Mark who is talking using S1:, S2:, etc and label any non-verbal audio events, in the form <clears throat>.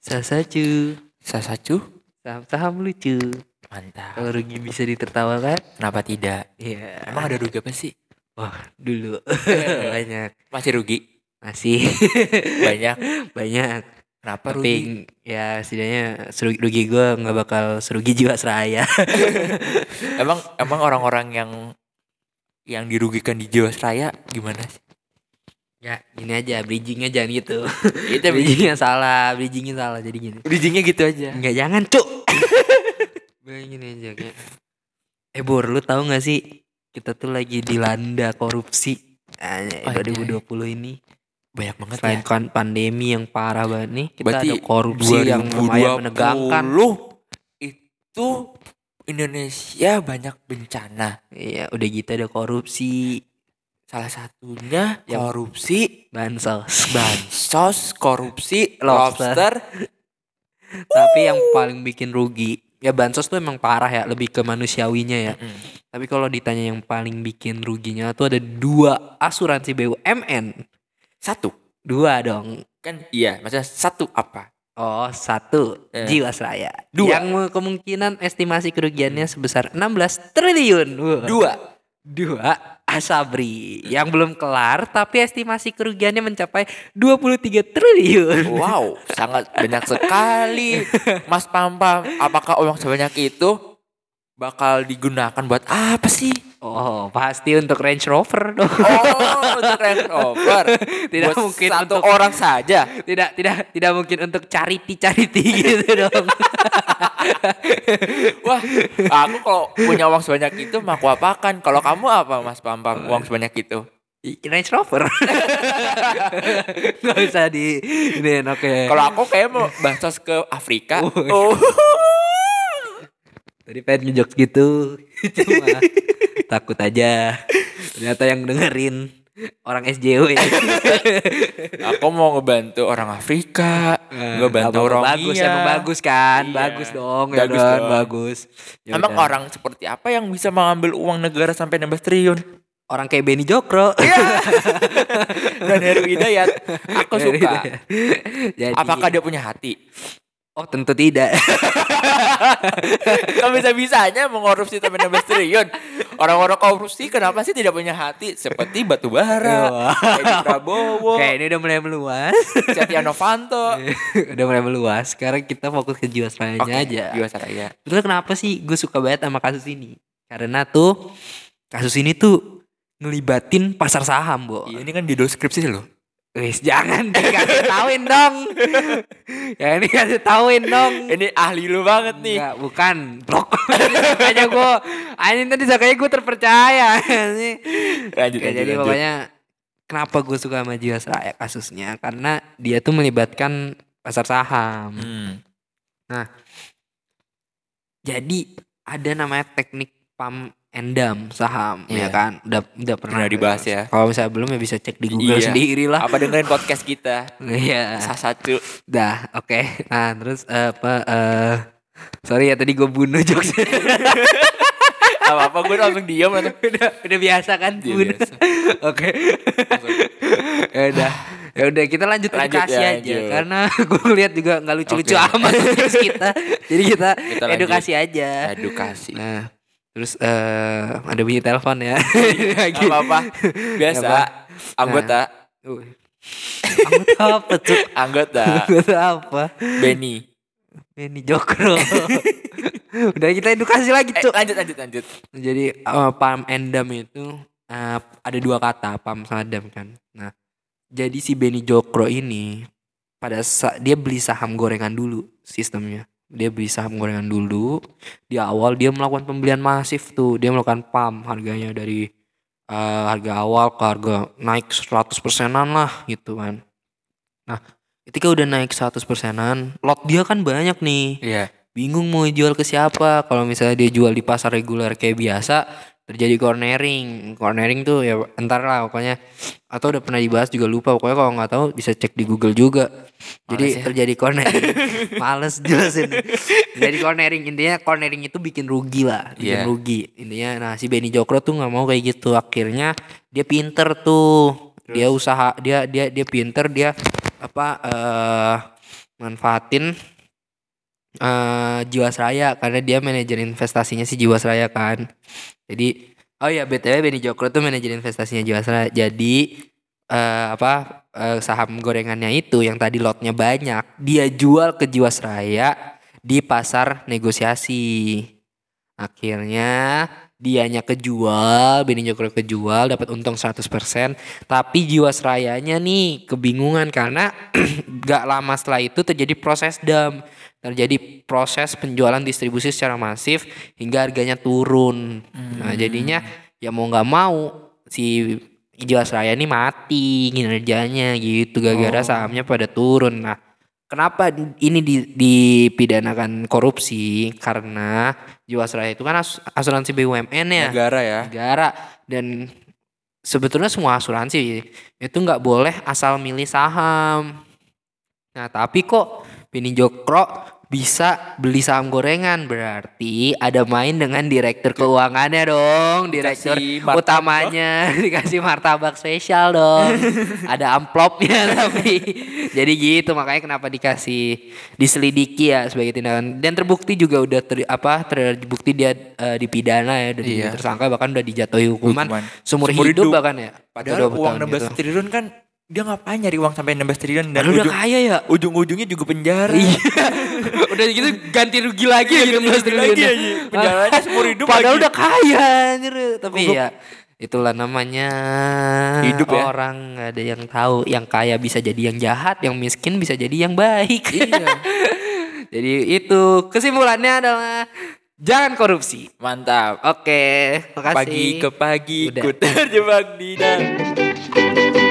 S1: Sasacu.
S2: Sasacu?
S1: Saham-saham lucu.
S2: Mantap.
S1: Kalau rugi bisa ditertawakan.
S2: Kenapa tidak?
S1: Iya.
S2: Emang ada rugi apa sih? <laughs>
S1: dulu banyak
S2: Masih rugi.
S1: masih <laughs>
S2: Banyak.
S1: banyak
S2: Kenapa rugi?
S1: tapi ya setidaknya serugi, rugi gue nggak bakal serugi jiwa seraya
S2: Emang emang orang-orang yang yang dirugikan di Jiwasraya gimana sih?
S1: ya gini aja bridgingnya jangan <laughs> gitu
S2: Itu
S1: bridgingnya salah bridgingnya salah jadi gini
S2: bridgingnya gitu aja.
S1: nggak jangan <laughs> cuk gue gini Ya. aja kayak eh bor lu tahu nggak sih kita tuh lagi dilanda korupsi Anjay,
S2: Anjay.
S1: 2020 ini
S2: Banyak banget ya.
S1: selain kon- pandemi yang parah banget nih kita
S2: Berarti
S1: ada korupsi yang lumayan menegangkan
S2: 2020 itu Indonesia banyak bencana.
S1: Iya, udah gitu ada korupsi
S2: Salah satunya
S1: Yang-
S2: korupsi
S1: bansos.
S2: bansos, korupsi
S1: Lobster.
S2: lobster.
S1: Tapi yang paling bikin rugi, ya bansos tuh emang parah ya, lebih ke manusiawinya ya.
S2: Mm.
S1: Tapi kalau ditanya yang paling bikin ruginya tuh ada dua asuransi BUMN.
S2: Satu.
S1: Dua dong.
S2: Kan iya, maksudnya satu apa?
S1: Oh, satu.
S2: Eh.
S1: Jiwasraya.
S2: Dua.
S1: Yang kemungkinan estimasi kerugiannya sebesar 16 triliun. Wah.
S2: Dua.
S1: Dua, Asabri yang belum kelar tapi estimasi kerugiannya mencapai 23 triliun.
S2: Wow, sangat banyak sekali. Mas Pampam, apakah uang sebanyak itu bakal digunakan buat apa sih?
S1: Oh, pasti untuk Range Rover dong.
S2: Oh, untuk Range Rover.
S1: Tidak
S2: Buat
S1: mungkin
S2: satu
S1: untuk-
S2: orang saja.
S1: <laughs> Tidak, tidak, tidak mungkin untuk charity-charity <laughs> gitu dong.
S2: Wah, aku kalau punya uang sebanyak itu mah aku apakan? Kalau kamu apa, Mas Bambang? Uang sebanyak itu?
S1: Range Rover. <laughs> Gak usah di ini oke.
S2: Kalau aku kayak mau bansos ke Afrika.
S1: Wih.
S2: Oh.
S1: Tadi pengen ngejok gitu. <laughs> Cuma takut aja. Ternyata yang dengerin orang
S2: <laughs>
S1: SJW.
S2: Aku mau ngebantu orang Afrika, ngebantu
S1: Abang
S2: orang
S1: Eh, bagus emang bagus kan?
S2: Iya.
S1: Bagus dong, ya
S2: Bagus
S1: kan?
S2: dong.
S1: Bagus. Ya
S2: Emang
S1: udah.
S2: orang seperti apa yang bisa mengambil uang negara sampai 16 triliun?
S1: orang kayak Benny
S2: <laughs>
S1: Jokro. <laughs>
S2: Dan Heru Hidayat, Iya, aku suka.
S1: Jadi-
S2: Apakah dia punya hati? <laughs>
S1: Oh, tentu tidak.
S2: Kok bisa-bisanya mengorupsi sampai 16 triliun? Orang-orang korupsi kenapa sih tidak punya hati? Seperti Batu Bara, Edi Prabowo,
S1: Kayak Iya, ini udah mulai meluas. <laughs>
S2: Setia Novanto.
S1: udah mulai meluas. Sekarang kita fokus ke jiwasrayanya
S2: Oke, ya?
S1: aja.
S2: Jiwasraya.
S1: Betul kenapa sih gue suka banget sama kasus ini? Karena tuh kasus ini tuh ngelibatin pasar saham, Bo.
S2: Iya, ini kan judul skripsi loh.
S1: Wis, jangan dikasih tauin dong. ya ini kasih tauin dong.
S2: Ini ahli lu banget nih.
S1: Enggak, bukan. Blok. aja gue. Anjing tadi sangkanya gue terpercaya.
S2: Lanjut,
S1: Ya,
S2: lanjut,
S1: jadi
S2: lanjut.
S1: pokoknya kenapa gue suka sama Jiwasraya kasusnya karena dia tuh melibatkan pasar saham.
S2: Hmm.
S1: Jadi ada namanya teknik pump and dump saham ya
S2: Iya.
S1: kan. Udah udah pernah,
S2: Pernah dibahas ya.
S1: Kalau misalnya belum ya bisa cek di Google
S2: Iya.
S1: sendiri lah.
S2: Apa dengerin podcast kita?
S1: Iya.
S2: Salah satu.
S1: Dah, oke. Nah, terus eh, apa eh, sorry ya tadi gue bunuh <laughs> jokes.
S2: Apa apa gue langsung diam langsung.
S1: udah, udah biasa kan
S2: Iya,
S1: bunuh.
S2: biasa.
S1: <laughs> Oke.
S2: Langsung.
S1: ya udah ya udah kita lanjut
S2: Lanjut,
S1: edukasi
S2: ya,
S1: aja
S2: lanjut.
S1: karena <laughs> gue lihat juga nggak lucu-lucu
S2: Oke. <laughs>
S1: amat jokes kita jadi kita,
S2: Kita lanjut.
S1: edukasi aja
S2: Edukasi.
S1: nah terus eh ada bunyi telepon ya <laughs>
S2: Gak Iya, apa-apa. Biasa.
S1: Apa?
S2: Anggota.
S1: Uy. anggota apa tuh
S2: Anggota.
S1: anggota apa
S2: Benny.
S1: Benny
S2: <laughs>
S1: Jokro udah kita edukasi lagi
S2: Eh,
S1: tuh
S2: lanjut lanjut lanjut.
S1: Jadi eh, pam and dump itu eh, ada dua kata pam sama dump kan. Nah, jadi si Benny Jokro ini pada sa- dia beli saham gorengan dulu sistemnya. Dia beli saham gorengan dulu. Di awal dia melakukan pembelian masif tuh. Dia melakukan pam harganya dari eh, harga awal ke harga naik 100 persenan lah gitu kan. Nah, ketika udah naik 100 persenan, lot dia kan banyak nih
S2: Iya.
S1: bingung mau jual ke siapa kalau misalnya dia jual di pasar reguler kayak biasa terjadi cornering cornering tuh ya entar lah pokoknya atau udah pernah dibahas juga lupa pokoknya kalau nggak tahu bisa cek di Google juga jadi
S2: Males ya.
S1: terjadi cornering <laughs> males jelasin jadi cornering intinya cornering itu bikin rugi lah bikin
S2: Iya.
S1: rugi intinya nah si Benny Jokro tuh nggak mau kayak gitu akhirnya dia pinter tuh dia usaha dia dia dia pinter dia apa eh manfaatin eh Jiwasraya karena dia manajer investasinya si Jiwasraya kan. Jadi oh ya BTW Beni Jokro tuh manajer investasinya Jiwasraya. Jadi eh apa eh, saham gorengannya itu yang tadi lotnya banyak, dia jual ke Jiwasraya di pasar negosiasi. Akhirnya dianya kejual, Beni Jokro kejual, dapat untung 100%. Tapi Jiwasrayanya nih kebingungan karena <clears throat> gak lama setelah itu terjadi proses dam. Terjadi proses penjualan distribusi secara masif hingga harganya turun. Nah jadinya ya mau gak mau si Jiwasraya ini mati kinerjanya gitu gara-gara
S2: Oh.
S1: sahamnya pada turun. Nah Kenapa ini di- dipidanakan korupsi? Karena Jiwasraya itu kan as- asuransi BUMN ya
S2: negara ya
S1: negara dan sebetulnya semua asuransi itu nggak boleh asal milih saham. Nah tapi kok Beni Jokro bisa beli saham gorengan berarti ada main dengan direktur keuangannya dong, direktur
S2: Dikasih martabak.
S1: utamanya <laughs> dikasih martabak spesial
S2: <laughs>
S1: dong, ada amplopnya <laughs> tapi jadi gitu makanya kenapa dikasih diselidiki ya sebagai tindakan dan terbukti juga udah ter, apa terbukti dia eh, dipidana ya udah
S2: Iya.
S1: jadi tersangka bahkan udah dijatuhi hukuman,
S2: Hukuman.
S1: seumur
S2: Seumur
S1: hidup,
S2: hidup.
S1: bahkan ya
S2: padahal
S1: 20
S2: uang
S1: tahun
S2: 16 triliun kan dia ngapain nyari uang sampai 16 triliun dan
S1: gitu. Padahal udah
S2: ujung,
S1: kaya ya
S2: ujung-ujungnya juga penjara <laughs>
S1: Iya. udah gitu ganti rugi lagi
S2: Iya,
S1: gitu
S2: ganti rugi lagi
S1: triliunnya.
S2: aja.
S1: <laughs>
S2: Penjaranya seumur hidup
S1: Padahal
S2: lagi.
S1: udah kaya anjir. Tapi
S2: Goblok.
S1: ya itulah namanya
S2: Hidup ya.
S1: orang nggak ada yang tahu yang kaya bisa jadi yang jahat yang miskin bisa jadi yang baik
S2: Iya.
S1: <laughs> jadi itu kesimpulannya adalah jangan korupsi
S2: mantap
S1: oke makasih
S2: pagi ke pagi
S1: Udah.
S2: ku terjebak di dalam